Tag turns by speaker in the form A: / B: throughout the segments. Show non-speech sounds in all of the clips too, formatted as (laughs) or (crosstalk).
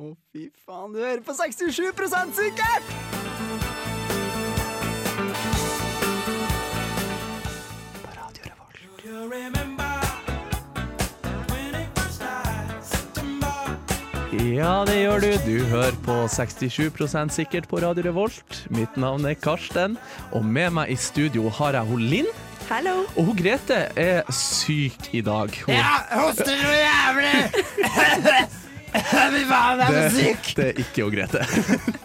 A: Å, fy faen, du hører på 67 sikkert! På Radio Revolt.
B: Ja, det gjør du. Du hører på 67 sikkert på Radio Revolt. Mitt navn er Karsten, og med meg i studio har jeg hun Linn.
C: Hallo.
B: Og hun Grete er syk i dag. Hun,
A: Hoster noe jævlig! (laughs) Fy faen, jeg
B: det, det er ikke hun Grete. (laughs)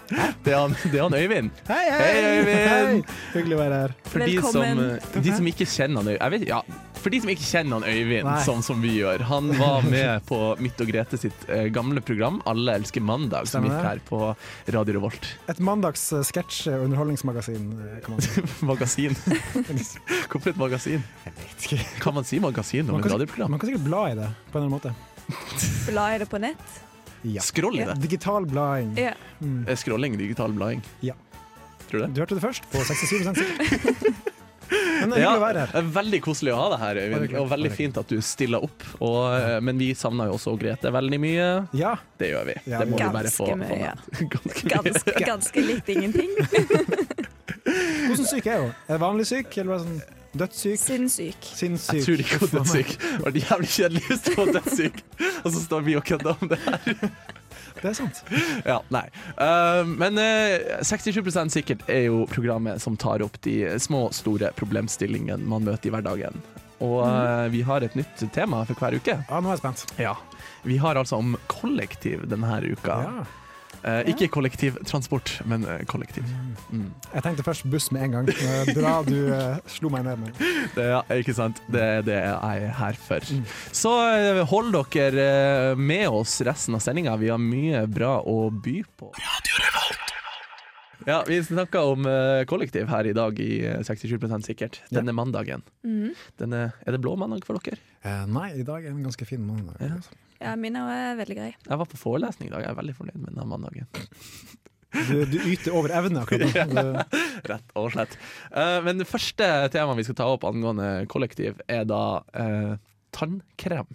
B: Det er han, det er han Øyvind.
D: Hei,
B: Hei, Øyvind.
D: Hyggelig å være her.
B: For de som,
C: Velkommen.
B: de som ikke kjenner han Øy- jeg vet, ja, For de som ikke kjenner han Øyvind
D: Nei.
B: sånn som vi gjør Han var med på mitt og Grete sitt eh, gamle program Alle elsker mandag som
D: Stemmer
B: gikk her på Radio Revolt (laughs)
D: Et mandags eh, sketsj- og underholdningsmagasin, eh, kan man
B: (laughs)
D: si. (laughs)
B: Magasin Hvorfor et magasin? Kan man si magasin om
D: Man
B: et
D: kan,
B: radioprogram?
D: man kan sikkert bla i det på en eller annen måte.
C: Bla er det på nett?
D: Ja.
B: Scroll i det
D: Digital blading.
C: Ja.
D: Mm.
B: Eh, Scrolling, digital blading
D: Ja.
B: Tror du det?
D: Du hørte det først, på 67 sikkert.
A: (laughs)
D: Men det er
B: Ja,
D: hyggelig å være her.
B: eh, veldig koselig å ha deg her,
D: Bare
B: Øyvind.
D: hyggelig.
B: Og veldig
D: Bare
B: fint at du stiller opp. Og, eh, men vi savner jo også Grete veldig mye.
D: Ja,
B: Det gjør vi.
D: Ja,
B: det må
C: vi-
B: du bare få, få
C: Ganske
B: med.
C: mye,
B: (laughs)
C: ja. (laughs)
B: Ganske mye. (laughs)
C: Ganske, ganske litt ingenting.
D: Hvordan syk er hun? Er det vanlig syk, eller bare sånn dødssyk?
C: Sinnssyk.
D: Sinnssyk?
B: Jeg tror ikke hun er dødssyk. Det var jævlig kjedelig hvis hun var dødssyk, (laughs) og så står vi og kødder om det
D: (laughs)
B: her.
D: Det er sant.
B: Ja, nei. Eh, men eh, 67 sikkert er jo programmet som tar opp de små, store problemstillingene man møter i hverdagen. Og eh, vi har et nytt tema for hver uke.
D: Mhm. Ja, nå er jeg spent.
B: Ja. Vi har altså om kollektiv denne uka.
D: Ja.
B: Eh, ikke kollektivtransport, men eh, kollektiv. Mm.
D: Jeg tenkte først buss med en gang. men Bra du eh, slo meg ned med.
B: Det er ikke sant. Det er det jeg er her for. Så eh, hold dere eh, med oss resten av sendinga. Vi har mye bra å by på. Ja, Vi snakka om eh, kollektiv her i dag i eh, 67 sikkert. Denne mandagen.
C: Mhm.
B: Denne, er det blå mandag for dere?
D: Eh, nei, i dag er en ganske fin mandag. altså.
B: Ja.
C: Ja, min også er veldig
B: (laughs)
C: grei.
B: Jeg var på forelesning i dag. Jeg er veldig fornøyd med denne mandagen.
D: Du, du yter over evne
B: (laughs)
D: akkurat nå. Du,
B: Rett og slett. Eh, men det første temaet vi skal ta opp angående kollektiv, er da eh, tannkrem.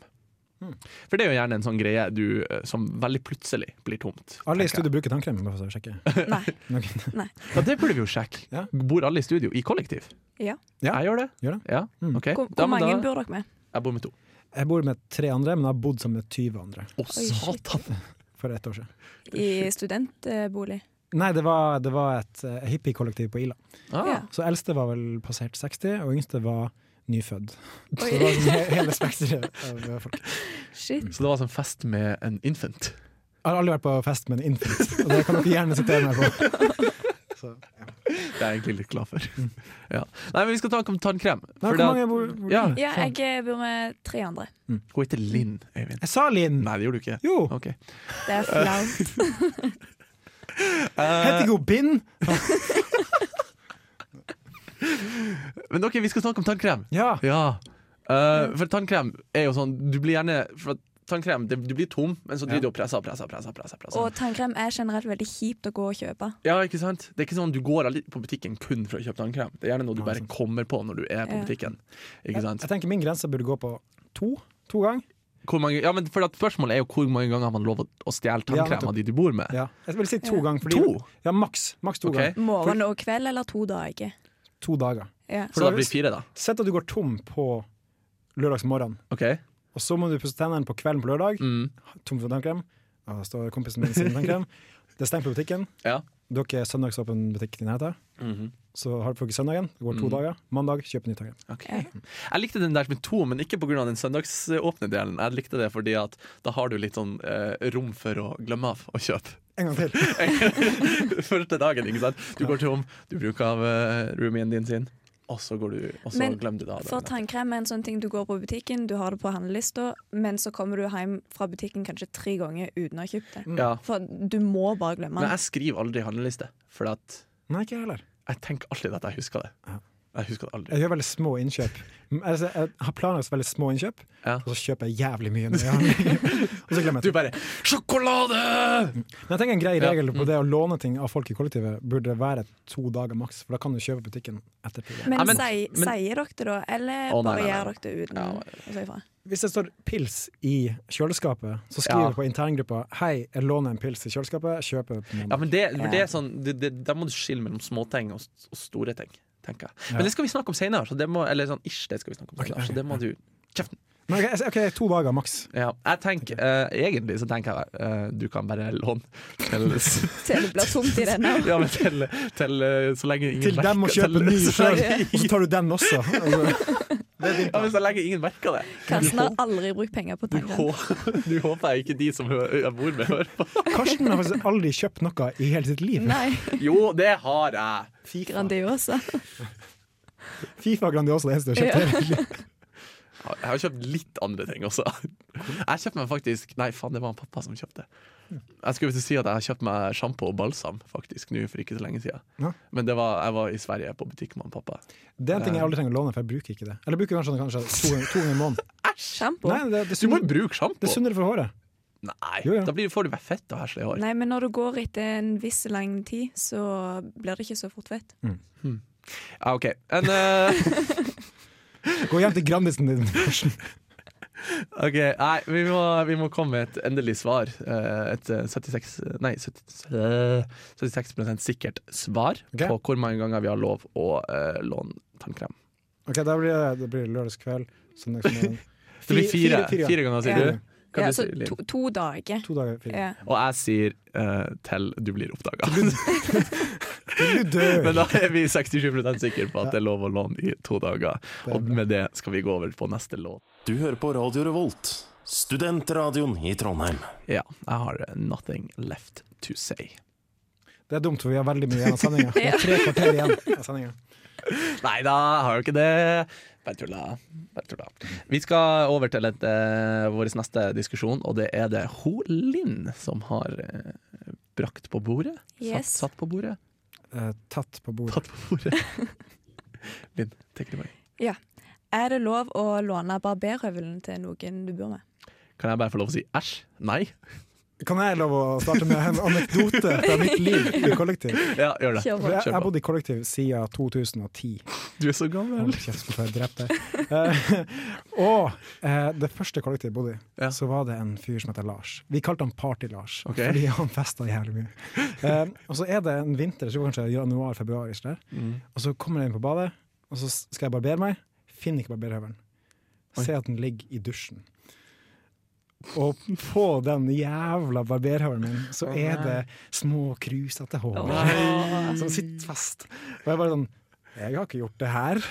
D: Hmm.
B: For det er jo gjerne en sånn greie du, eh, som veldig plutselig blir tomt. tenker
D: alle i
B: jeg.
D: studio bruker tannkrem. bare for å sjekke.
C: Nei.
D: Ok.
B: Ja, det burde vi jo sjekke.
D: Ja.
B: Bor alle i studio i kollektiv?
C: Ja.
D: Ja.
B: Jeg gjør det.
D: Gjør det.
B: Ja,
D: Mm.
B: ok.
C: Hvor,
B: Eh, Da,
C: hvor
B: men
C: mange
B: da,
C: bor dere med?
B: jeg bor med to.
D: Jeg bor med tre andre, men jeg har bodd sammen med 20 andre
B: Å,
C: shit.
B: satan!
D: for ett år siden.
C: I studentbolig?
D: Nei, det var, det var et eh, hippiekollektiv på Ila.
B: Ah,
C: Ja.
D: Så eldste var vel passert 60, og yngste var nyfødd. Så
C: Oi.
D: det var sånn he- hele spekteret av eh, folk.
C: Shit.
B: Så det var sånn fest med en infant.
D: Jeg har aldri vært på fest med en infant, og det kan dere gjerne sitere meg på. Så, ja.
B: Det er jeg egentlig litt glad for. Ja. Nei, men vi skal ta om tannkrem.
D: Hmm. Nei,
B: For
D: hvor
B: det-
D: mange bor, bor
B: Ja.
D: du med?
C: Ja,
D: Sånn.
C: jeg bor med tre andre.
B: Hun heter Linn, Øyvind.
D: Jeg sa Linn!
B: Nei, det gjorde du ikke.
D: Eh, Jo!
B: Ok. Eh,
C: Det er
B: (laughs)
C: flaut. eh.
D: Heter ikke hun Bind?
B: Men ok, vi skal snakke om tannkrem.
D: Ja.
B: (laughs) Ja. Eh, for tannkrem er jo sånn Du blir gjerne for at Tannkrem, det, du blir tom, men så
D: Ja.
B: driver du og presser og presser. presser, presser, presser.
C: Og tannkrem er generelt veldig kjipt å gå og kjøpe.
B: Ja, ikke sant? Det er ikke sånn Du går aldri på butikken kun for å kjøpe tannkrem. Det er gjerne noe du
D: Nei,
B: bare
D: sant.
B: kommer på når du er på
C: Ja.
B: butikken. Ikke sant?
D: Jeg tenker min grense burde gå på to. To ganger.
B: Hvor mange, ja, men for at Spørsmålet er jo hvor mange ganger har man lov å, å stjele
D: Ja,
B: tannkrem av
D: nettopp.
B: de du bor med.
D: Ja. Jeg vil si to
C: Ja.
D: ganger. Fordi,
B: To?
D: Ja, maks. Maks to
B: Ok.
D: ganger.
C: Morgen og kveld eller to dager.
D: To dager.
C: Ja.
B: Så da blir det fire, da.
D: Sett at du går tom på lørdagsmorgen,
B: Ok
D: og så må du pusse tennene på kvelden på lørdag.
B: mm.
D: Tom for tannkrem. Ja, Da står kompisen min sin tannkrem. Det er stengt på butikken.
B: Ja.
D: Du har ikke søndagsåpen butikk i nærheten.
B: Mhm.
D: Så har du ikke søndagen. Det
B: Mm.
D: går to dager. Mandag, kjøp ny tannkrem.
B: Ok.
C: Ja.
B: Jeg likte den der med to, men ikke pga. den søndagsåpne delen. Jeg likte det fordi at da har du litt sånn eh, rom for å glemme av å kjøpe.
D: En gang til.
B: (laughs) Første dagen, ikke sant. Du går tom, du bruker av eh, roomien din sin, og så, går du, og så
C: Men
B: glemmer du det av.
C: For
B: dagen etter.
C: tannkrem er en sånn ting du går på butikken, du har det på handlelista, men så kommer du hjem fra butikken kanskje tre ganger uten å ha kjøpt det.
B: Ja.
C: For du må bare glemme
B: Mm. Men
C: den.
B: jeg skriver aldri handleliste, for at
D: (laughs) Nei, ikke jeg heller.
B: jeg tenker alltid at jeg husker det.
D: Ja.
B: Jeg husker det aldri.
D: Jeg gjør veldig små innkjøp. Mm, Altså, jeg har planlagt veldig små innkjøp,
B: Ja.
D: og så kjøper jeg jævlig mye. Når jeg har mye.
B: (laughs)
D: og så glemmer
B: Du
D: jeg det.
B: bare 'Sjokolade!'
D: Men jeg tenker En grei
B: Ja, Mm.
D: regel på det å låne ting av folk i kollektivet burde være to dager maks, for da kan du kjøpe i butikken etterpå.
C: Men,
B: Ja, men-
C: sier-
B: men-
C: sier dere det da, eller
B: Å, nei,
C: bare
B: nei,
C: gjør
B: nei.
C: dere det uten
B: Ja,
C: å si ifra?
D: Hvis det står pils i kjøleskapet, så skriver
B: Ja.
D: jeg på interngruppa Hei, jeg låner en pils i kjøleskapet, jeg kjøper på
B: Ja,
D: mandag.
B: men det, for det er sånn det, det, Der må du skille mellom småting og, s- og store ting. Tenker jeg. Men
D: Ja.
B: det skal vi snakke om senere. Så det må, eller sånn ish, det skal vi snakke om
D: Ok,
B: senere. Så det må du Kjeften!
D: Men ok, jeg- ok, to dager maks.
B: Ja, jeg tenker, eh, egentlig så tenker jeg eh, du kan bare låne til,
D: (laughs)
C: Til det blir tomt i
B: (laughs)
C: denne.
B: ja, men til, til eh, Så lenge ingen
D: Til dem å
B: merker-
D: kjøpe ny
B: (laughs) så
D: sjøl,
B: lenge,
D: og så tar du den også. Altså,
B: ja, men så lenge ingen merker det.
C: Karsten har aldri brukt penger på
B: Du,
C: tanken.
B: hå- du håper jeg ikke de som hø- jeg bor med, hører på.
D: Karsten har faktisk aldri kjøpt noe i hele sitt liv.
C: Nei,
B: Jo, det har jeg!
D: FIFA,
C: Grandiosa.
D: FIFA Grandiosa er det eneste du har kjøpt.
C: Ja.
D: i hele ditt liv.
B: Jeg har kjøpt litt andre ting også. Jeg kjøpte meg faktisk Nei, faen, det var han pappa som kjøpte. Jeg skulle til å si at jeg har kjøpt meg sjampo og balsam faktisk nå for ikke så lenge siden.
D: Ja.
B: Men det var, jeg var i Sverige på butikk med han pappa.
D: Det er en ting jeg aldri trenger å låne, for jeg bruker ikke det. Eller jeg bruker kanskje, kanskje to, ganger- to ganger i måneden.
C: Sjampo.
D: Nei, det, det, er
B: Du må
D: sunn-
B: jo bruke
D: det er
B: sjampo!
D: sunnere for håret.
B: Nei,
D: Jo, ja.
B: da blir, får du bare fett og heslig hår.
C: Nei, men når du går etter en viss lang tid, så blir det ikke så fort fett.
B: Mm, Ja, OK. En, eh,
D: Gå hjem til Grandisen din. Karsten.
B: ok, Nei, vi må, vi må komme med et endelig svar. Eh, Et eh, 76 Nei, 70, eh, 76 sikkert svar
D: Ok.
B: på hvor mange ganger vi har lov å eh, låne tannkrem.
D: Ok, Da blir det, det blir lørdagskveld. søndagsmorgen.
B: (laughs) Det blir
D: Fi-
B: fire,
D: fire,
B: fire ganger, sier
C: Ja.
B: du? Hva du
C: Ja,
B: Mm.
C: så
B: sier, Liv?
C: to, to dager.
D: To dager. Fire.
C: Ja.
B: Og jeg sier eh, til du blir oppdaga.
D: Du
B: (laughs)
D: dør!
B: Men da er vi 67 sikre på at det er lov å låne i to dager.
D: Det er
B: Og
D: bra.
B: med det skal vi gå over på neste låt.
E: Du hører på Radio Revolt, studentradioen i Trondheim.
B: Ja, jeg har nothing left to say.
D: Det er dumt, for vi har veldig mye igjen av sendinga. Det er Tre kvarter igjen av sendinga.
B: Nei da, jeg har jo ikke det. Bare tulla. Bare tulla. Vi skal over til et, eh, vår neste diskusjon, og det er det Ho Linn som har eh, brakt på bordet.
C: Yes.
B: Satt, satt på bordet.
D: Eh, tatt på bordet.
B: Tatt på bordet. (laughs) Linn, take it away.
C: Er det lov å låne barberhøvelen til noen du bor med?
B: Kan jeg bare få lov å si æsj? Nei?
D: Kan jeg lov å starte med en anekdote fra mitt liv i kollektiv?
B: Ja, gjør det.
C: Kjør
D: For jeg,
B: Kjør
D: jeg har
B: på.
D: bodd i kollektiv siden 2010.
B: Du er så gammel.
D: Hold kjeft, hvorfor jeg drepte deg. Eh, og eh, det første kollektivet jeg bodde i,
B: Ja.
D: så var det en fyr som heter Lars. Vi kalte han Party-Lars,
B: Ok.
D: fordi han festa jævlig mye. Eh, og så er det en vinter, jeg tror kanskje januar-februar, ikke der.
B: Mm.
D: Og så kommer jeg inn på badet, og så skal jeg barbere meg. Finner ikke barberhøvelen.
B: Oi.
D: Ser at den ligger i dusjen. Og på den jævla barberhøvelen min så er det små, krusete hår
B: Mm.
D: som
C: Mm.
D: sitter fast. Og jeg bare sånn Jeg har ikke gjort det her.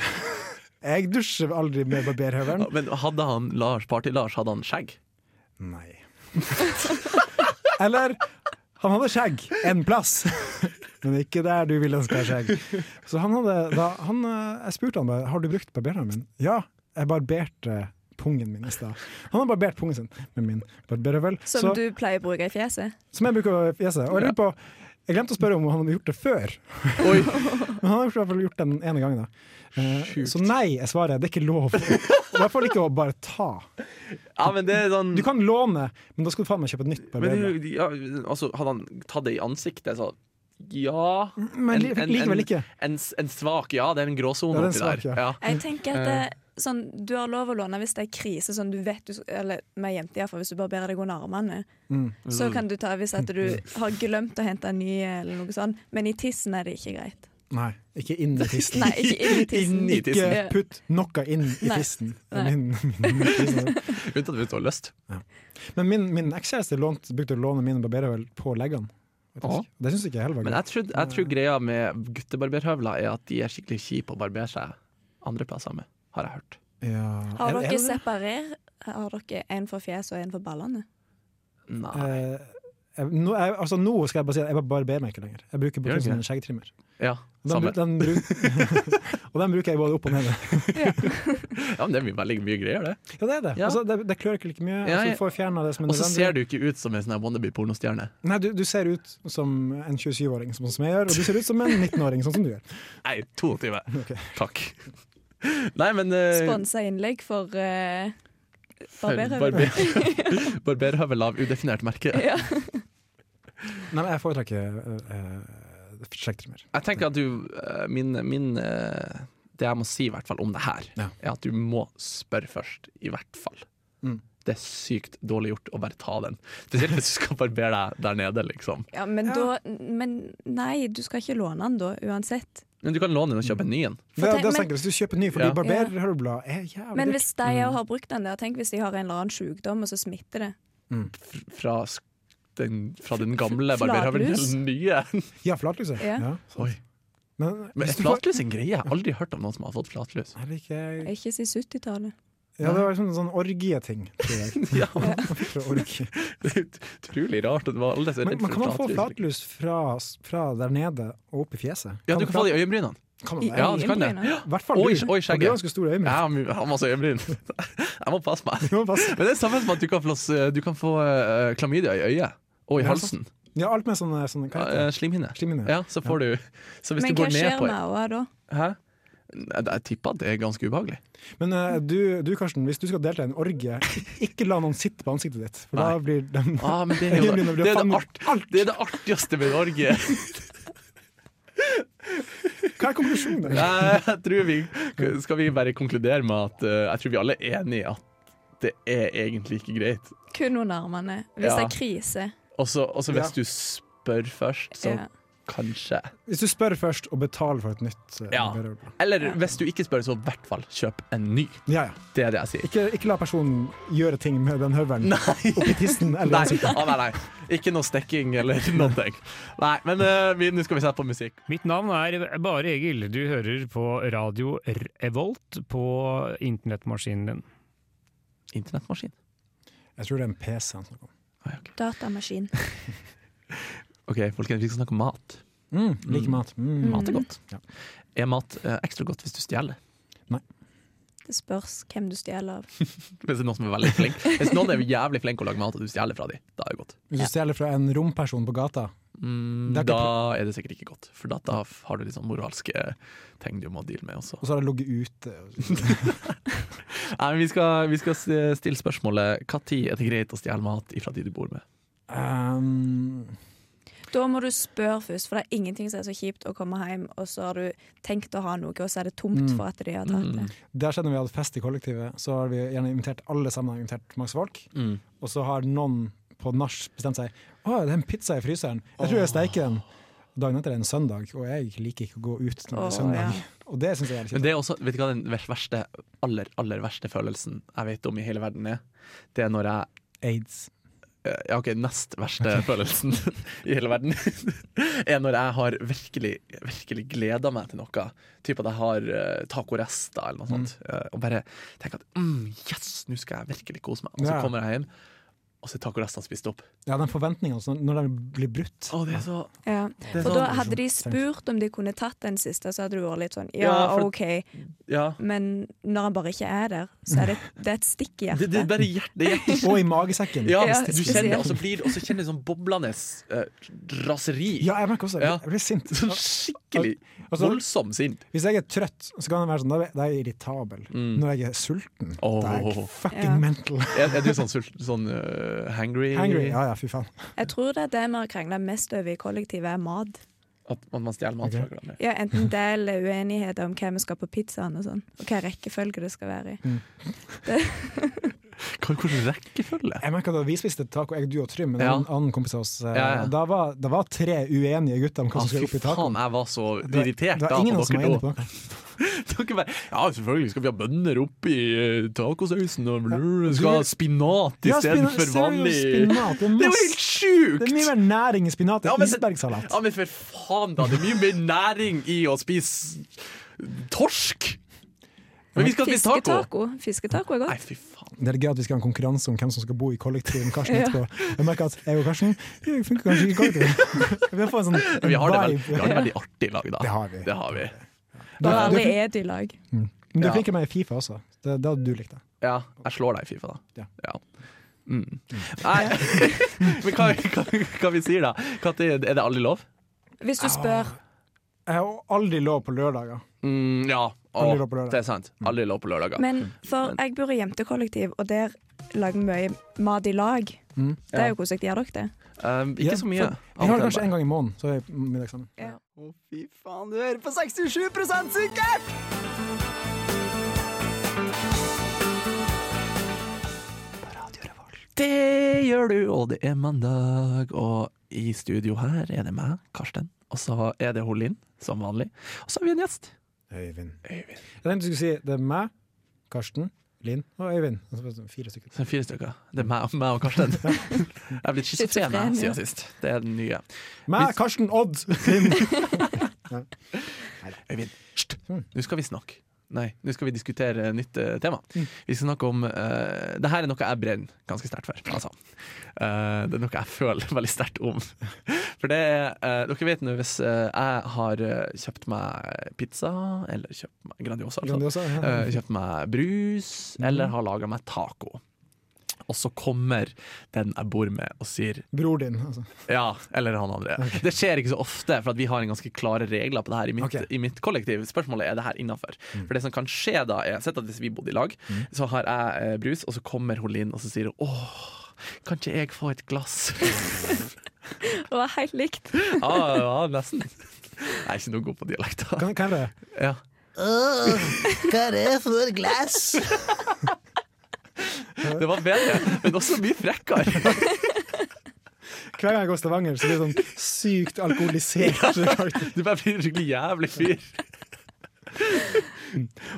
D: Jeg dusjer aldri med barberhøvelen.
B: Ja, Ah, Men hadde han Lars, Party-Lars, hadde han skjegg?
C: (laughs)
D: Nei. Eller han hadde skjegg en plass, men ikke der du ville han skal ha skjegg. Så han hadde da, han, eh, Jeg spurte han bare har du brukt barbereren min. Ja, jeg barberte pungen min i stad. Han har barbert pungen sin med min barberhøvel,
C: Som
D: så-
C: du pleier å bruke i fjeset?
D: som jeg bruker å fjese. Og jeg lurer på jeg glemte å spørre om han hadde gjort det før,
B: Oi,
D: men han har i hvert fall gjort det den ene gangen. Da. Eh,
B: Sjukt.
D: Så nei er svaret. Det er ikke lov. (laughs) I hvert fall ikke å bare ta.
B: ja, men det er sånn
D: Du kan låne, men da skal du faen meg kjøpe et nytt
B: men,
D: barberblad.
B: du- ja, altså, Hadde han tatt det i ansiktet, så ja
D: Men li- likevel ikke.
B: En, s- en svak ja. Det er en
D: Ja,
B: gråsone
D: det er en
B: oppi
D: svak,
B: der.
D: ja.
B: Ja.
C: Jeg tenker at
B: Eh.
C: det, sånn, Du har lov å låne hvis det er krise, sånn du vet du, eller med jenter i hvert fall, hvis du barberer deg under armene.
B: Mm,
C: Så kan du ta hvis at du har glemt å hente en ny, eller noe sånt, men i tissen er det ikke greit.
D: Nei, ikke inn i tissen.
C: Nei,
B: (laughs)
C: ikke inn i tissen.
B: Inni tissen.
D: Ikke putt noe inn i
C: Nei.
D: tissen.
C: Nei.
D: Min, min, min tissen.
B: Unntatt hvis du har lyst.
D: Men min, min ekskjæreste lånt- brukte å låne mine barberhøvel på leggene.
B: Ja.
D: faktisk. Det syns ikke jeg heller var
B: Men
D: greit.
B: jeg tror, jeg tror greia med guttebarberhøvler er at de er skikkelig kjipe å barbere seg andre plasser med, har jeg hørt.
D: Ja.
C: Har
D: Er- er det
C: dere
D: det?
C: separer? Har dere en for fjes og en for ballene?
B: Nei.
D: Eh, jeg, nå, jeg, altså, nå skal jeg bare si at jeg bare barberer meg ikke lenger. Jeg bruker
B: Gjør du
D: bare
B: ikke
D: som en skjeggtrimmer.
B: Ja,
D: Den,
B: samme.
D: bru- den, bru- (laughs) og den bruker jeg både opp og ned.
B: Ja, men det blir veldig mye greier, det.
D: Ja, det er det.
B: Ja.
D: Altså, det, det klør ikke like mye.
B: Ja,
D: altså,
B: jeg-
D: du får fjerna det som er
B: Og så ser
D: nødvendig.
B: du ikke ut som en sånn her wannabe-pornostjerne.
D: Nei, du, du ser ut som en 27-åring, sånn som jeg gjør, og du ser ut som en 19-åring, sånn som
B: (laughs)
D: du gjør.
B: Nei, 22. Takk. Nei, men eh,
C: Sponsa innlegg for uh, barberhøvel.
B: barber- (laughs) Barberhøvel av udefinert merke.
C: (laughs) Ja.
D: Nei, men jeg foretrekker uh, uh, skjeggtrimmer.
B: Jeg tenker at du eh, Min, min eh, Det jeg må si i hvert fall om det her,
D: Ja.
B: er at du må spørre først. I hvert fall.
D: Mm.
B: Det er sykt dårlig gjort å bare ta den. Spesielt hvis du skal barbere deg der nede, liksom.
C: Ja, men da Men nei, du skal ikke låne den da, uansett.
B: Men du kan låne den og kjøpe en ny en.
D: Det, det
C: Fortell-
D: tenker
C: men-
D: jeg, Hvis du kjøper ny, fordi
B: Ja.
D: barberhøvelblad er jævlig
C: Men
D: dyrt.
C: hvis de
B: Mm.
C: òg har brukt den der, tenk hvis de har en eller annen sykdom, og så smitter det.
B: F- Fra, sk- den, fra den gamle
C: Flatlus?
B: barberhøvelen til den nye.
D: Ja, flatlus.
C: Ja.
B: Oi.
D: Men,
B: Men
D: hvis
B: er
D: du får-
B: flatlus en greie? Jeg har aldri hørt om noen som har fått flatlus.
D: Er
B: Mm.
D: det ikke
C: Ikke si 70-tallet.
D: Ja, det var liksom en sånn orgieting, tror jeg.
B: (laughs)
D: (laughs)
B: Ja, men
D: Man fikk fra orgie.
B: (laughs) det er utrolig rart at det var alle som er
D: Men,
B: redd
D: men
B: for
D: kan man få
B: flatlus. liksom.
D: flatlus fra, fra der nede og opp i fjeset?
B: Ja, du kan få det i øyenbrynene.
D: Kan man
C: I
D: det?
B: Ja, du kan det.
C: øyenbrynene.
B: Ja.
D: I hvert fall
B: Og
D: du.
B: i- og i
D: for
B: skjegget.
D: Du har ganske store (laughs) øyne.
B: Jeg har my- har masse øyenbryn. (laughs) Jeg må passe meg.
D: Du må passe.
B: Men det er samme som at du kan, flås, du kan få eh, klamydia i øyet og i
D: Ja,
B: halsen.
D: Ja, alt med sånne, sånne hva
B: Ja, eh,
D: heter det?
B: slimhinne.
D: Slimhinne.
B: Ja, så får du Så hvis
C: Men
B: du
C: hva
B: går ned
C: skjer
B: på
C: med henne da?
B: Hæ? Nei, Jeg tipper at det er ganske ubehagelig.
D: Men eh, du, du, Karsten, hvis du skal delta i en orgie, ikke la noen sitte på ansiktet ditt. For da
B: Nei.
D: blir den
B: (laughs) Ah, men det, er jo,
D: Øyenbrynene blir
B: det, er det,
D: fanget
B: art, det er det artigste med Norge.
D: Hva er konklusjonen?
B: Nei, jeg tror vi, skal vi bare konkludere med at eh, jeg tror vi alle er enige i at det er egentlig ikke greit.
C: Kun under armene. Hvis
B: Ja.
C: det er krise.
B: Og så og så hvis
D: Ja.
B: du spør først, så
C: Ja.
B: kanskje.
D: Hvis du spør først og betaler for et nytt eh,
B: Ja.
D: barberhøvelblad.
B: Eller hvis du ikke spør, så i hvert fall kjøp en ny.
D: Ja, ja.
B: Det er det (laughs) jeg sier.
D: Ikke, ikke la personen gjøre ting med den høvelen oppi tissen eller
B: (laughs) Nei,
D: ansiktet.
B: ah, nei, nei. Ikke noe stekking eller noen ting. Nei, men eh, vi- nå skal vi sette på musikk.
F: Mitt navn er Bare Egil. Du hører på radio Revolt på internettmaskinen din.
B: Internettmaskin.
D: Jeg tror det er en PC han snakker om.
C: Datamaskin.
B: OK, folkens, vi skal snakke om mat.
D: Mm, like mat. Mm.
B: Mat er godt.
D: Ja.
B: Er mat eh, ekstra godt hvis du stjeler?
C: Det spørs hvem du stjeler av.
B: Hvis det er noen som er veldig
D: (laughs)
B: flink Hvis noen er jævlig flink å lage mat, og du stjeler fra dem, da er det godt.
D: Hvis du stjeler fra en romperson på gata
B: Mm,
D: Det er ikke
B: da er det sikkert ikke godt, for da, da har du litt sånn moralske ting du må deale med også.
D: Og så har det ligget ute.
B: (laughs) Nei, men vi, skal, vi skal s- stille spørsmålet når er det greit å stjele mat ifra de du bor med?
D: Um,
C: Da må du spørre først, for det er ingenting som er så kjipt å komme hjem, og så har du tenkt å ha noe, og så er det
B: Mm.
C: tomt for at de har tatt det.
D: det har skjedd når vi hadde fest i kollektivet. Så har vi gjerne invitert alle sammen har invitert masse folk.
B: Mm.
D: Og så har noen på nach bestemt seg Å, det er en pizza i fryseren. Jeg tror jeg steiker den. Dagen etter er det en søndag, og jeg liker ikke å gå ut når det
C: Å,
D: er søndag.
C: ja.
D: Og det syns jeg er litt
B: Men
D: kjipt.
B: det er også, vet du hva den vers- verste, aller, aller verste følelsen jeg vet om i hele verden er? Det er når jeg
D: Aids.
B: eh, Ja, ok, nest (laughs) verste følelsen i hele verden (laughs) er når jeg har virkelig, virkelig gleda meg til noe. Typ at jeg har eh, tacorester eller noe sånt. eh, og bare tenker at mm, yes, nå skal jeg virkelig kose meg. Og så
D: Ja.
B: kommer jeg hjem, og så er tacorestene spist opp.
D: Ja, den forventninga altså, når den blir brutt.
B: Å, det er så
C: Ja.
B: er
C: For
B: sånn-
C: da hadde de spurt om de kunne tatt den siste, så hadde du vært litt sånn ja,
B: Ja, for-
C: OK,
B: Ja.
C: men når han bare ikke er der, så er det, det er et stikk i
B: Det, det er
C: hjertet.
B: bare hjert, det er hjerte (laughs)
D: Og i magesekken.
B: Ja,
C: Ja,
B: du kjenner, og så blir- og så kjenner du sånn boblende eh, raseri.
D: Ja, jeg merker også.
B: Ja.
D: Jeg
B: (laughs)
D: blir sint.
B: Sånn skikkelig
D: Altså-
B: voldsom sint.
D: Hvis jeg er trøtt, så kan jeg være sånn, da er- da er jeg irritabel. Når jeg er sulten,
B: Mm. Åh.
D: da er jeg fucking
C: Ja.
D: mental.
B: Er, er du sånn, sult- sånn øh, hangry?
D: Hangry. Ja ja, fy faen.
C: Jeg tror det er det vi har krangla mest over i kollektivet, er mat.
B: At man, man stjeler mat fra hverandre?
C: Ja, enten det eller uenigheter om hva vi skal på pizzaen og sånn. Og hva rekkefølge det skal være i.
B: Hva- Hvilken rekkefølge?
D: Jeg merker at da vi spiste taco, jeg, du og Trym, men
B: Ja.
D: en annen kompis av oss, eh,
B: Ja, ja.
D: Da, var, da var tre uenige gutter om hva
B: Ah,
D: som skulle
B: fy
D: opp i
B: faen,
D: tacoen.
B: jeg var så
D: Det var-
B: irritert
D: det var
B: da
D: ingen
B: på
D: som var
B: dere
D: enig
B: da.
D: på noe.
B: (laughs) Dere bare, ja, selvfølgelig skal vi ha bønner oppi uh, tacosausen, og vi skal
D: Du-
B: ha spinat
D: Ja, spina-
B: istedenfor
D: seriøst,
B: vanlig
D: spinat,
B: (laughs)
D: det er
B: Det er jo
D: masse-
B: helt sjukt!
D: Det er mye mer næring i spinat enn
B: Ja, men-
D: isbergsalat.
B: Ja, men for faen, da. Det er mye mer næring i å spise torsk. Men vi skal spise taco.
C: Fisketaco. Fisketaco er
B: Nei,
C: godt.
B: fy faen.
D: Det er gøy at vi skal ha en konkurranse om hvem som skal bo i kollektiv med Karsten etterpå. Jeg merker at jeg og Karsten jeg funker kanskje ikke i kollektiv. (laughs) Vi får en sånn
B: Men vi har det, vel,
D: vibe.
B: vi har det veldig artig i lag, da.
D: Det har vi.
B: Det har vi.
C: Og
D: Du-
C: alle
D: du-
C: er det i lag.
D: Men du
B: Ja.
D: fikk jo meg i Fifa også. Det, det hadde du likt. da.
B: Ja, jeg slår deg i Fifa, da.
D: Ja.
B: Mm. Nei, (laughs) men hva, hva, hva vi sier da? Katti, er det aldri lov?
C: Hvis du spør
D: Jeg har aldri lov på lørdager.
B: Mm, ja.
D: Aldri lov på lørdag.
B: det er sant. Aldri lov på lørdager.
C: Men for jeg bor i jentekollektiv, og der lager vi mye mat i lag.
D: Mm.
C: Det er jo koselig. Gjør dere det?
B: Um,
D: Ja,
B: ikke så mye.
D: for- Vi har det kanskje en gang i måneden, så er vi middag sammen.
A: Å, fy faen, du hører på 67 sikkert!
B: Det gjør du, og det er mandag. Og i studio her er det meg, Karsten. Og så er det hun Linn, som vanlig. Og så har vi en gjest.
D: Øyvind.
B: Øyvind.
D: Jeg tenkte du skulle si det er meg, Karsten, Linn og Øyvind. Og så var det sånn Fire stykker.
B: Så er det fire stykker. Det er meg, meg og
A: (laughs)
B: Karsten. Jeg er blitt schizofren jeg,
C: Schizofren, ja.
B: siden sist. Det er den nye.
D: Meg, Karsten, Odd, (laughs) Linn.
B: Øyvind, hysj! Nå skal vi snakke. Nei, nå skal vi diskutere eh, nytt eh, tema. Vi skal snakke om eh, Det her er noe jeg brenner ganske sterkt for. Altså. Eh, det er noe jeg (laughs) føler veldig sterkt om. For det er eh, Dere vet nå, hvis eh, jeg har eh, kjøpt meg pizza, eller kjøpt meg Grandiosa, altså,
D: Grandiosa, ja.
B: eh, kjøpt meg brus, eller har laga meg taco. Og så kommer den jeg bor med og sier
D: Bror din, altså.
B: ja, eller han andre. Det skjer ikke så ofte, for at vi har en ganske klare regler på det her i mitt,
D: Ok.
B: i mitt kollektiv. Spørsmålet er det her innafor. For det som kan skje da, er Sett at hvis vi bodde i lag, så har jeg eh, brus, og så kommer hun inn og så sier hun, åh, kan ikke jeg få et glass?
C: (laughs) Det var helt likt.
B: Ja, (laughs) ja, nesten. Jeg er ikke noe god på dialekter.
D: Kan, kan jeg det?
B: Ja.
A: Hva er det for et glass?
B: (laughs) Det var bedre, men også mye frekkere.
D: Hver gang jeg går til Stavanger, så blir det sånn sykt
B: (laughs)
D: alkoholisert.
B: Du bare blir en skikkelig jævlig (laughs) fyr.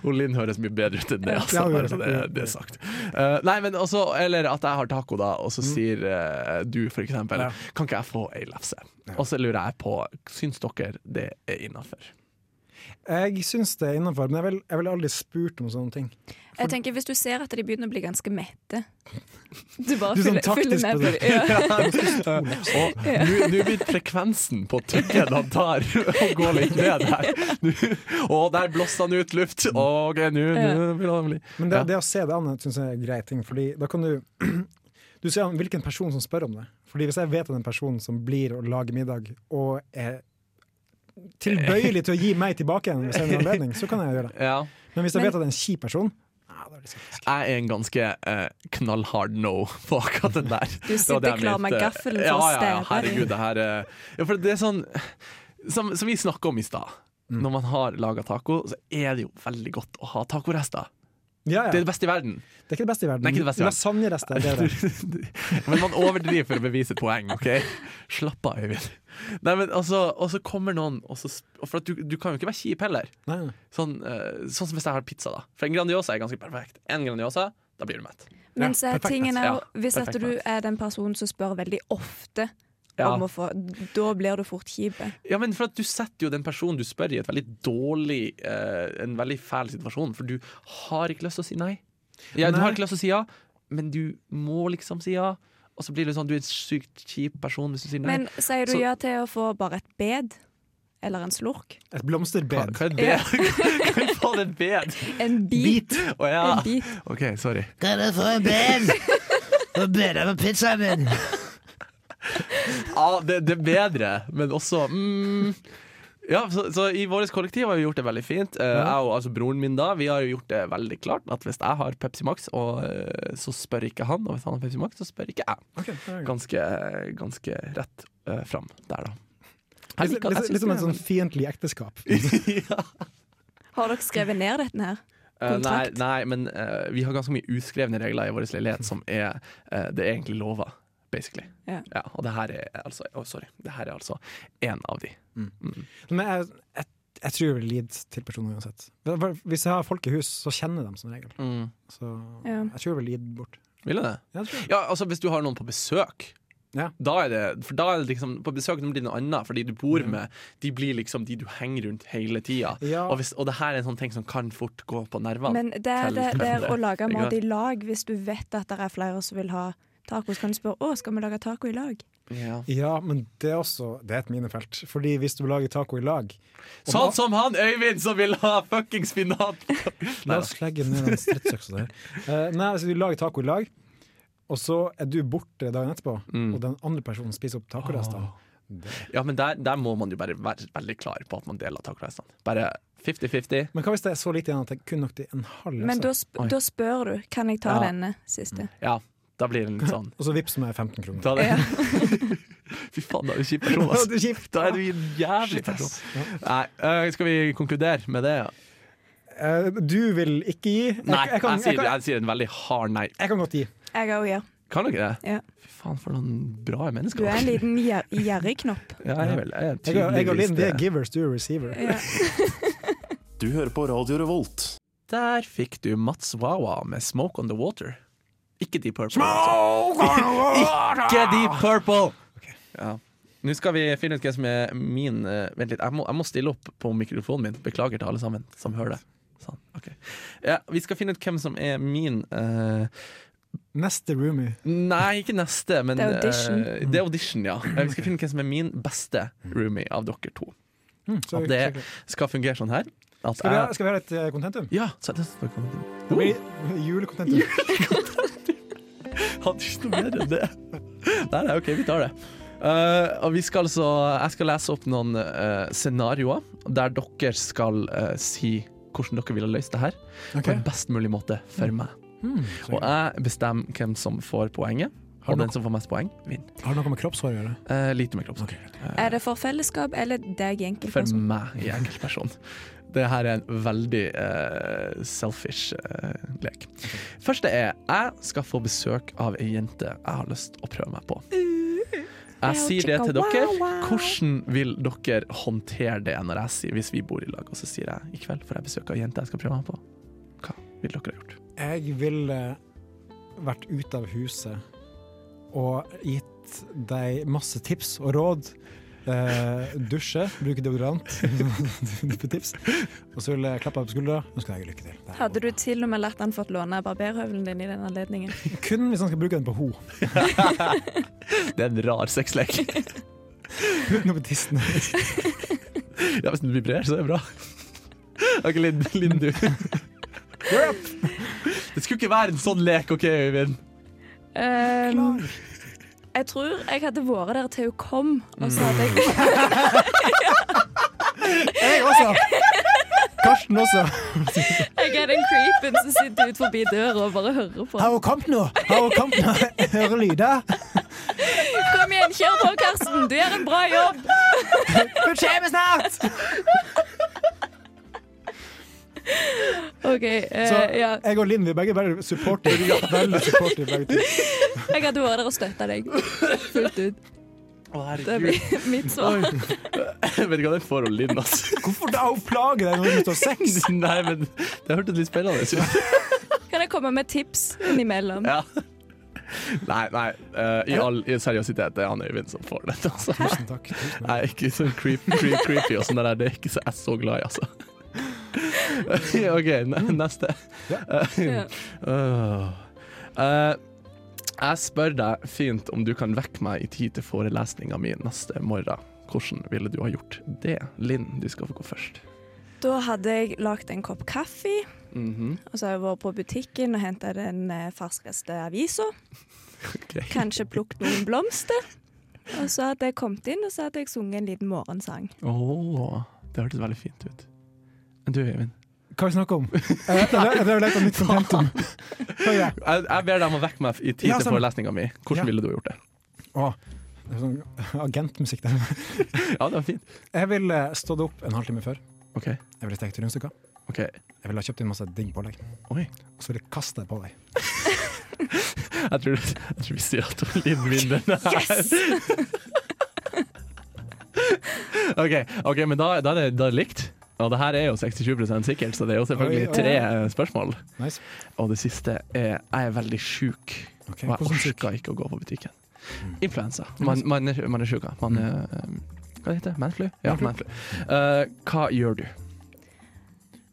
B: Hun Linn høres mye bedre ut enn det, altså.
D: Ja, hun gjør
B: Bare så det,
D: det.
B: det er sagt. Eh, nei, men også, eller at jeg har taco, da, og så sier eh, du for eksempel
D: Mm. Ja.
B: Kan ikke jeg få ei lefse? Og så lurer jeg på, syns dere det er
D: (laughs)
B: innafor? (laughs)
D: Jeg syns det er innafor, men jeg vil- jeg ville aldri spurt om sånne ting.
C: Jeg tenker Hvis du ser at de begynner å bli ganske mette Du bare
D: Du er sånn
C: fyller, fyller
D: taktisk
C: med
D: på
C: på
D: det.
C: dem. Ja.
B: Og nå nå blir frekvensen på tyggen han tar, (laughs) og går litt ned her. Nå- Og der blåser han ut luft. OK, nå nå vil han bli
D: Men det,
B: Ja.
D: det å se det an syns jeg er en grei ting, fordi da kan du (clears throat) Du ser an hvilken person som spør om det. Fordi hvis jeg vet at en person som blir og lager middag, og er tilbøyelig til å gi meg tilbake igjen hvis jeg har en anledning, så kan jeg gjøre det.
B: Ja.
D: Men hvis jeg
C: Men-
D: vet at det er en kjip person ja, da er det skeptisk.
B: Jeg er en ganske eh, knallhard no på akkurat den der.
C: Du
B: Det var det
C: sitter
B: jeg
C: klar med
B: mente.
C: gaffelen
B: ja,
C: for å
B: ja, ja,
C: stebe.
B: herregud, det her eh, ja, for det er sånn Som, som vi snakka om i stad.
D: Mm.
B: Når man har laga taco, så er det jo veldig godt å ha tacorester.
D: ja, ja.
B: Det er det beste i verden.
D: Det er ikke det beste i verden.
B: Det er ikke det beste i verden.
D: Lasagnerester, det er
B: (laughs)
D: det.
B: Men man overdriver for å bevise et poeng, OK? Slapp av, Øyvind. Nei, men altså, og så kommer noen og så, sp- For at du, du kan jo ikke være kjip heller.
D: Nei, nei.
B: Sånn, eh, sånn som hvis jeg har pizza, da. For en Grandiosa er ganske perfekt. En Grandiosa, da blir du mett.
C: Men så er
D: perfekt,
C: tingen er
B: ja.
C: jo, hvis at
B: Perfekt,
C: du
B: perfekt.
C: er den personen som spør veldig ofte
B: Ja.
C: om å få Da blir du fort kjip.
B: Ja, men for at Du setter jo den personen du spør, i et veldig dårlig eh, en veldig fæl situasjon. For du har ikke lyst til å si nei. Ja, Du
D: Nei.
B: har ikke lyst til å si ja, men du må liksom si ja. Og så blir det sånn du er en sykt kjip person hvis du sier nei.
C: Men sier du
B: Så-
C: ja til å få bare et bed? Eller en slurk?
D: Et
B: hva,
D: blomsterbed.
B: hva er det? (laughs) Hva faen er bed?
C: En bit!
B: Å ja.
C: En bit.
B: OK, sorry.
A: Hva er det for en ben? Nå ber jeg på pizzaen min.
B: Ja, det, det er bedre, men også mm, ja, så, så i vårt kollektiv har vi gjort det veldig fint. Eh, jeg og altså broren min da, vi har jo gjort det veldig klart at hvis jeg har Pepsi Max, og, eh, så spør ikke han. Og hvis han har Pepsi Max, så spør ikke jeg.
D: Ok, det er greit.
B: Ganske, ganske rett uh, fram der, da. Jeg
D: Litt,
B: liker- jeg
D: litt,
B: synes
D: litt som
B: det
D: et
B: er-
D: sånn fiendtlig ekteskap.
B: (laughs) ja.
C: Har dere skrevet ned dette her?
B: Eh, nei,
C: Kontrakt.
B: nei, men eh, vi har ganske mye uskrevne regler i vår leilighet som er eh, Det er egentlig lova, basically.
C: Ja.
B: og det her er altså Å, sorry. Det her er altså én av de.
D: Men jeg, jeg, jeg tror jeg vil lide til personer uansett. Hva- hva- Hvis jeg har folk i hus, så kjenner jeg dem som regel. Så
B: Mm.
C: Ja.
D: jeg tror jeg vil lide bort.
B: Ville det?
D: Jeg tror jeg.
B: Ja, altså Hvis du har noen på besøk,
D: Ja.
B: Da er det, for da er det liksom, på besøk blir det noe annet, for de du bor med, de blir liksom de du henger rundt hele tida.
D: Ja.
B: Og, hvis- og det her er en sånn ting som kan fort gå på nervene.
C: Men det er
B: til
C: det, det er
B: hverandre.
C: å lage
B: Ikke
C: mat
B: sant?
C: i lag hvis du vet at det er flere som vil ha tacos. Kan du spørre å, skal vi lage taco i lag?
B: Ja.
D: Ja, men det er også det er et minefelt. Fordi hvis du lager taco i lag og
B: Sånn
D: la-
B: som han Øyvind som vil ha fucking spinat!
D: La oss legge ned den
B: (laughs)
D: stridsøksa der. Eh, nei, altså, du lager taco i lag, og så er du borte dagen etterpå,
B: Mm.
D: og den andre personen spiser opp tacorestene.
B: Ja, men der, der må man jo bare være veldig klar på at man deler tacoreisene. Bare 50-50.
D: Men hva hvis det er så lite igjen at det er kun nok til en halv
C: Men da,
D: lefse?
B: Oi.
C: sp da spør du kan jeg ta
B: Ja.
C: denne siste.
B: Ja, da blir det litt
D: (laughs)
B: sånn.
D: Og så vips meg 15 kroner.
B: Da er det.
C: Ja.
B: Fy faen, da er du kjip person,
D: (laughs)
B: ass.
D: Det er kjipt.
B: Da er du en jævlig
D: Shit,
B: person.
D: ass.
B: Nei, øh, skal vi konkludere med det? ja?
D: Eh, du vil ikke gi? Jeg,
B: Nei,
D: jeg, kan,
B: jeg
D: jeg,
B: sier,
D: kan,
B: jeg sier en veldig hard nei.
D: jeg kan godt gi.
C: Jeg òg, ja.
B: (laughs) Kan dere det?
C: Ja.
B: Fy faen, for noen bra mennesker.
C: Du er en liten gjer- gjerrig
B: (laughs)
C: knopp.
B: Ja, jeg er vel, jeg er
D: Jeg, og- jeg og
B: tydeligvis
D: Linn vi er
B: det.
D: givers, du er receiver.
C: Ja.
E: Du hører på Radio Revolt.
B: Der fikk du Mats Wawa med 'Smoke On The Water'. Ikke Deep Purple. altså. Ikke Deep Purple! Ja. Nå skal vi finne ut hvem som er min eh, Vent litt, jeg må, jeg må stille opp på mikrofonen min. Beklager til alle sammen som hører det. Sånn, ok. ja, vi skal finne ut hvem som er min eh,
D: Neste roomie.
B: Nei, ikke neste, men
C: Det er audition.
B: eh, det er audition ja. Eh, Vi skal finne ut hvem som er min beste roomie av dere to.
D: Mm, så
B: At det
D: kjekt.
B: skal fungere sånn her. At
D: skal, vi ha,
B: jeg,
D: skal vi ha et eh, kontentum?
B: ja, så det skal komme til.
D: Det blir
B: Uh. (laughs)
D: Julekontentum.
B: Hadde ikke noe bedre enn det. Nei, nei, OK, vi tar det. Eh, og vi skal altså, jeg skal lese opp noen eh, scenarioer der dere skal eh, si hvordan dere ville løst det her på
D: Ok.
B: en best mulig måte for meg.
D: Mm,
B: Og
D: så-
B: jeg bestemmer hvem som får poenget,
D: Har
B: og
D: du
B: den som får mest poeng, vinner.
D: Har det noe med kroppshår å gjøre?
B: Eh, lite med kroppsspråk.
C: Er det for fellesskap eller deg i
B: For
C: enkeltperson?
B: meg i enkeltperson. Det her er en veldig eh, selfish eh, lek. Første er jeg skal få besøk av ei jente jeg har lyst å prøve meg på. Jeg sier det til dere. Hvordan vil dere håndtere det når jeg sier, hvis vi bor i lag, og så sier jeg i kveld får jeg besøk av ei jente jeg skal prøve meg på? Hva ville dere ha gjort? (laughs)
D: Jeg ville vært ute av huset og gitt deg masse tips og råd. Eh, dusje, bruke deodorant. (laughs) Duppe tips. Og så ville jeg klappe deg på skuldra. Ønske deg lykke til. Det er
C: Hadde du
D: bra.
C: til og med latt han fått låne barberhøvelen din i den anledningen?
D: Kun hvis han skal bruke den på ho.
B: Det er en rar sexlek.
D: Bruk den på
C: (laughs)
D: tissen.
B: Ja, hvis den vibrerer, så er det bra. OK, Linn, Linn du. Det skulle ikke være en sånn lek, OK, Øyvind?
C: Um, jeg tror jeg hadde vært der til hun kom, og så hadde
B: Mm.
C: jeg (laughs)
D: Jeg også! Karsten også.
C: Jeg er den creepen som sitter ut forbi døra og bare hører på.
D: Har hun kommet nå? Har hun kommet nå? Jeg Hører lyder?
C: Kom igjen, kjør på, Karsten! Du gjør en bra jobb!
D: Hun kommer snart!
C: OK. eh,
D: Så
C: ja.
D: jeg og Linn vi er begge veldig supportive. Veldig supportive begge to.
C: Jeg hadde vært der og støtta deg fullt ut.
B: Å,
C: Det
B: herregud.
C: blir (laughs) mitt svar.
B: Vet ikke hva den får av Linn, altså.
D: Hvorfor da? Hun plager deg når du står sex.
B: Nei, men det hørtes litt spennende ut.
C: Kan jeg komme med tips innimellom?
B: Ja. Nei, nei, eh, i all i seriøsitet, det er han Øyvind som får dette, altså.
D: Tusen takk. Tusen takk.
B: Nei, ikke sånn creep, creep, creepy og sånn der, det er ikke så jeg er så glad i, altså. (laughs) OK, ne- neste.
C: Ja.
B: Åh. Eh, jeg spør deg fint om du kan vekke meg i tid til forelesninga mi neste morgen. Hvordan ville du ha gjort det? Linn, du skal få gå først.
C: Da hadde jeg lagd en kopp kaffe,
B: Mhm,
C: og så har jeg vært på butikken og henta den eh, ferskeste avisa.
B: ok.
C: Kanskje plukket noen blomster. Og så hadde jeg kommet inn og så hadde jeg sunget en liten morgensang.
B: Åh, det hørtes veldig fint ut. Men du, Øyvind.
D: Hva vi
B: (laughs)
D: snakker om? Jeg drev og lette nytt kontentum. Hva er det?
B: Jeg, jeg ber deg om å vekke meg i tid
D: Ja,
B: til
D: samme.
B: forelesninga mi. Hvordan
D: Ja.
B: ville du ha gjort det?
D: Å, det er sånn agentmusikk der.
B: Ja, det var fint.
D: Jeg ville stått opp en halvtime før.
B: OK.
D: Jeg ville stekt rundstykker.
B: ok.
D: Jeg ville ha kjøpt inn masse digg pålegg.
B: Oi.
D: Og så ville jeg kaste det på deg.
B: Jeg tror, jeg tror vi sier at Linn vinner den her. OK, ok, men da, da, er det, da er det likt. Og det her er jo 67 sikkert, så det er jo selvfølgelig
D: Oi, oi.
B: tre eh, spørsmål.
D: Nice.
B: Og det siste er jeg er veldig sjuk,
D: Ok,
B: og jeg
D: hvordan syk?
B: orka ikke å gå på butikken. Influensa. Man, man, er, man er sjuk av. Man er eh, Hva heter det? Manflu? Ja, manflu. Eh, hva gjør du?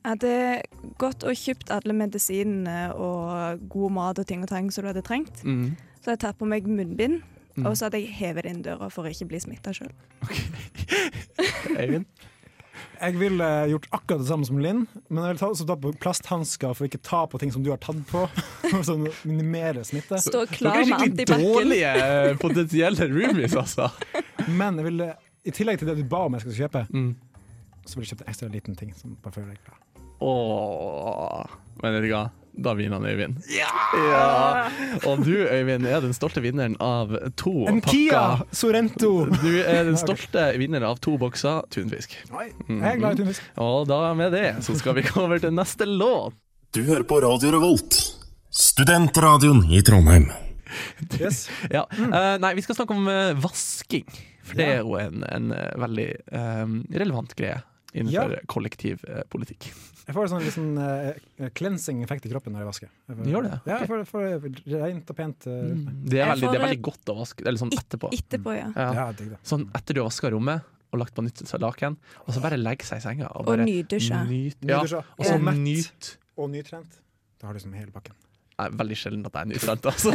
C: Hadde gått og kjøpt alle medisinene og god mat og ting og tang som du hadde trengt.
B: Mm.
C: Så hadde jeg tatt på meg munnbind,
B: Mm.
C: og så hadde jeg hevet det inn døra for å ikke bli smitta sjøl.
B: (laughs) Eivind?
D: Jeg ville gjort akkurat det samme som Linn, men jeg ville ta, også ta på plasthansker for ikke ta på ting som du har tatt på. (laughs) For sånn å minimere smitte.
C: Stå
B: Dere
C: klar
B: er
C: med
B: skikkelig
C: antibac-en.
B: dårlige eh, potensielle roomies, altså.
D: Men jeg ville, i tillegg til det du ba om jeg skulle kjøpe,
B: Mm.
D: så ville jeg kjøpt en ekstra liten ting. Som bare føler deg glad.
B: Åh, men vet du hva? Da vinner han Øyvind. Ja! Og du, Øyvind, er den stolte vinneren av to
D: En Kia
B: pakker.
D: Sorento!
B: Du er den stolte vinneren av to bokser tunfisk.
D: Oi,
B: Mm.
D: Jeg er glad i tunfisk.
B: Og da med det så skal vi gå over til neste låt.
E: Du hører på Radio Revolt, studentradioen i Trondheim.
D: Yes.
B: Ja. eh, nei, vi skal snakke om eh, vasking. For det er jo en, en eh, veldig eh, relevant greie innenfor eh,
D: Ja.
B: kollektivpolitikk.
D: Jeg får en sånn liksom, eh, cleansing effekt i kroppen når jeg vasker. Jeg får,
B: Gjør det?
D: Ja, jeg får, jeg får det rent og pent. eh,
B: Mm.
D: rundt meg.
B: Det er
C: Jeg
B: veldig, det er
C: får
B: veldig godt å vaske eller sånn etterpå.
C: Etterpå, ja.
B: Ja.
D: Ja, digg det.
B: Sånn etter du har vaska rommet og lagt på nytt laken, og så bare legge seg i senga og
C: Og
B: bare
C: nydusje.
B: nyt- Ja,
D: Nydusja.
B: og så
D: Og mett.
B: nyt
D: Eh, Og nytrent. Da har du liksom hele pakken.
B: Det er veldig sjelden at jeg er nytrent, (laughs) altså.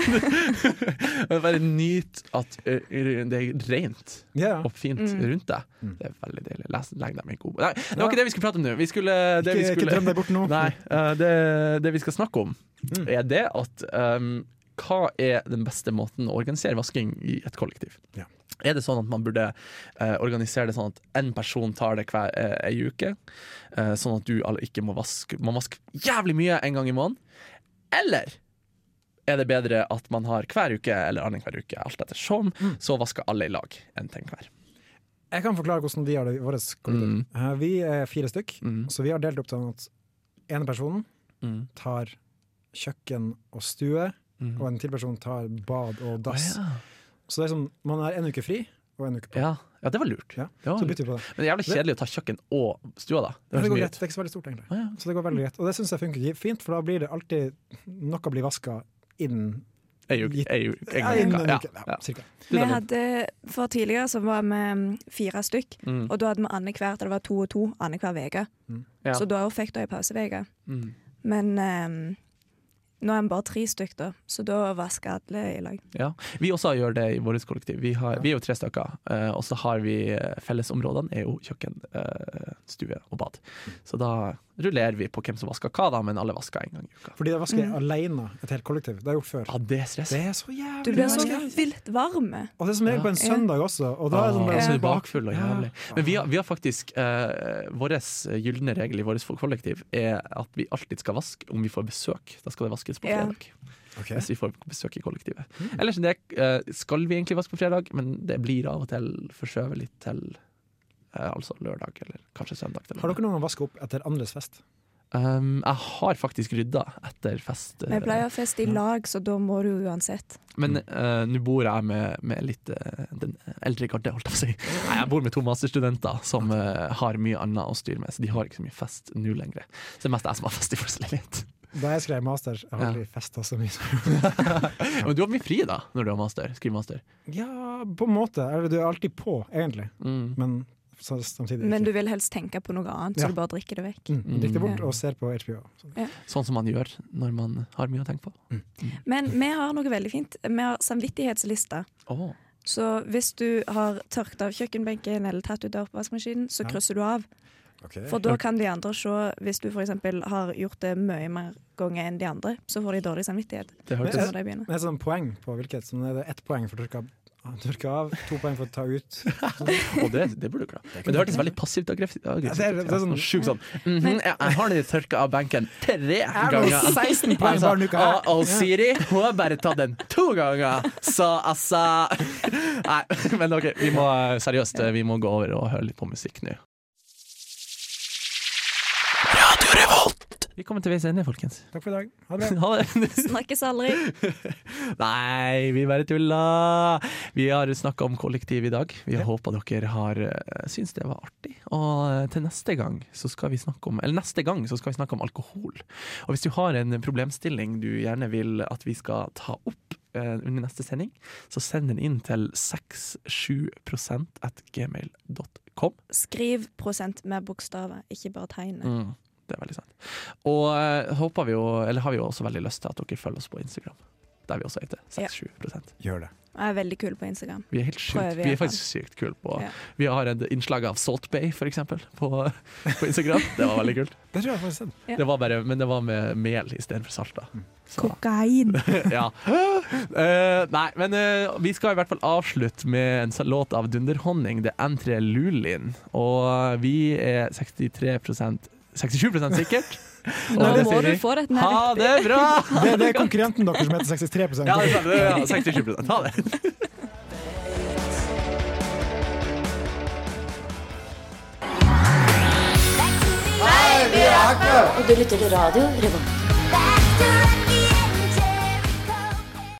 B: Men bare nyt at ø, ø, det er rent
D: Ja, ja.
B: og fint rundt deg. Det er veldig deilig. Les, legg deg med en god Nei, det var
D: Mm. Ja.
B: ikke det vi skulle prate om nå. Vi skulle, det vi
D: Ikke, ikke
B: skulle
D: drøm deg bort nå.
B: Nei, eh, det, det vi skal snakke om,
D: Mm.
B: er det at ehm, hva er den beste måten å organisere vasking i et kollektiv?
D: Ja.
B: Er det sånn at man burde eh, organisere det sånn at én person tar det hver eh, ei uke? eh, sånn at du alle ikke må vaske Man vasker jævlig mye en gang i måneden? Eller er det bedre at man har hver uke eller annenhver uke, alt ettersom,
D: Mm.
B: så vasker alle i lag en ting hver?
D: Jeg kan forklare hvordan de har det i vårt kollektiv.
B: Mm.
D: Eh, Vi er fire stykk,
B: Mm.
D: så vi har delt opp sånn at ene personen
B: Mm.
D: tar kjøkken og stue,
B: Mm.
D: og en til person tar bad og dass.
B: Å,
D: Så det er som, man er en uke fri og en uke på.
B: ja. Ja. ja, det var lurt.
D: Ja,
B: Det var
D: Så
B: lurt.
D: bytter vi på det.
B: Men det er jævlig kjedelig å ta kjøkken og stua, da. Det
D: Men
B: høres
D: det går
B: mye
D: greit,
B: ut.
D: det er ikke så veldig stort egentlig.
B: Ah, ja.
D: Så det går veldig greit. Og det syns jeg funker fint, for da blir det alltid noe blir vaska innen
B: Ei uke. Ei uke. En gang i
D: innen
B: uka.
D: en
B: Ja.
D: uke. Ja,
B: Ja.
D: cirka.
B: Du,
C: Vi
B: David?
C: hadde, for tidligere så var vi mm, fire stykk,
B: Mm.
C: og da hadde vi annenhver Det var to og to annenhver uke.
B: Ja.
C: Så da fikk du ei pauseuke.
B: Mm.
C: Men eh, nå er vi bare tre stykk, da, så da vasker alle i lag.
B: Ja. Vi også gjør det i vårt kollektiv. Vi, har, vi er jo tre stykker, eh, og så har vi eh, fellesområdene er jo kjøkken, eh, stue og bad. Så da rullerer vi på hvem som vasker hva, da, men alle vasker en gang i uka.
D: Fordi det vasker jeg alene, et helt kollektiv. Det har jeg gjort før.
B: Ja, det er stress.
D: Det er så jævlig
C: Du blir så
D: vanskelig.
C: vilt varm.
D: Og det er som regel på en
C: Ja.
D: søndag også. Og da er det sånn
B: Ah,
D: bare
B: så
D: sånn
B: du er bakfull og
D: Ja.
B: jævlig. Men vi har, vi har faktisk uh, Vår gylne regel i vårt kollektiv er at vi alltid skal vaske om vi får besøk. Da skal det vaskes på
C: Ja.
B: fredag.
D: Ok. Mm.
B: Hvis vi får besøk i kollektivet. Ellers enn det eh, skal vi egentlig vaske på fredag, men det blir av og til forskjøvet litt til eh, altså lørdag eller kanskje søndag. til og
D: Har
B: med.
D: dere noen gang vaska opp etter andres fest?
B: Um, jeg har faktisk rydda etter fest, eh,
C: Vi pleier å feste i lag, så da må du uansett.
B: men eh, nå bor jeg med, med litt eh, den eldre garde, holdt jeg på å si. Nei, jeg bor med to masterstudenter som eh, har mye annet å styre med, så de har ikke så mye fest nå lenger. Så det er mest jeg som har fest i vår leilighet.
D: Da jeg skrev master, jeg har
B: Ja.
D: aldri festa så mye. (laughs) som-
B: Men du har mye fri da, når du har master, skrivemaster.
D: Ja, på en måte. Eller du er alltid på, egentlig.
B: Mm.
D: Men så, samtidig
C: Men
D: ikke.
C: du vil helst tenke på noe annet,
D: Ja.
C: så du bare drikker det vekk.
D: Mm, Drikk det bort
C: Ja.
D: og ser på HBO. Så-
B: Sånn som man gjør når man har mye å tenke på.
C: Men vi har noe veldig fint. Vi har samvittighetsliste.
B: Åh
C: Så hvis du har tørket av kjøkkenbenken eller tatt ut av oppvaskmaskinen, så
D: Ja.
C: krysser du av. For da kan de andre se, hvis du f.eks. har gjort det mye mer ganger enn de andre, så får de dårlig samvittighet.
B: Det
C: Så
B: hørtes
C: må de begynne.
D: Men det er sånn poeng på hvilket. Sånn er det ett poeng for å tørke av, tørke av, to poeng for å ta ut. eh,
B: Og det, det burde du klare. Men det hørtes veldig passivt og aggressivt ut.
D: Ja, det er- det er sånn-
B: Sånn sjukt sånn «Mhm, Jeg jeg har den tørka av benken tre (laughs)
D: nå
B: ganger.
D: 16 poeng hver uke her.
B: og, og sånn Siri, hun har bare tatt den to ganger, så altså (laughs) Nei, men OK, vi må seriøst vi må gå over og høre litt på musikk nå. Vi kommer til veis ende, folkens. (laughs)
D: Takk for i dag. Ha det bra.
B: Ha det.
C: Snakkes aldri.
B: (laughs) Nei, vi bare tulla! Vi har snakka om kollektiv i dag. Vi håper dere har eh, syntes det var artig. Og eh, til neste gang så skal vi snakke om Eller neste gang så skal vi snakke om alkohol. Og hvis du har en problemstilling du gjerne vil at vi skal ta opp eh, under neste sending, så send den inn til 67 at gmail.com.
C: Skriv prosent med bokstaver, ikke bare tegnet.
B: Mm. Det er veldig sant. Og eh, håper vi jo, eller har vi jo også veldig lyst til at dere følger oss på Instagram. Der vi også heter 67
D: Gjør det.
C: Jeg er veldig kul på Instagram.
B: Vi er helt sykt,
C: Prøver
B: vi er
C: igjen.
B: faktisk sykt kule på
C: Ja.
B: Vi har et innslag av Salt Bay, for eksempel, på, på
C: (laughs)
B: Instagram. Det var veldig kult.
D: Det tror jeg faktisk. er.
C: Ja. Mm.
B: Det var bare, men det var med mel istedenfor salt, da. Så,
C: Kokain!
B: (laughs) ja. Eh, nei, men eh, vi skal i hvert fall avslutte med en sånn låt av Dunderhonning, det er N3 Lulin. Og vi er 63 67 sikkert. Og
C: Nå
B: det
C: må
B: sier
C: du
B: vi,
C: få dette
B: Ha
C: ned.
B: det bra!
C: (laughs)
D: Det, det er konkurrenten deres som heter 63
B: Ja, det er sant, det er- ja, 67 Ha det.
G: Og du lytter til radio Revolt.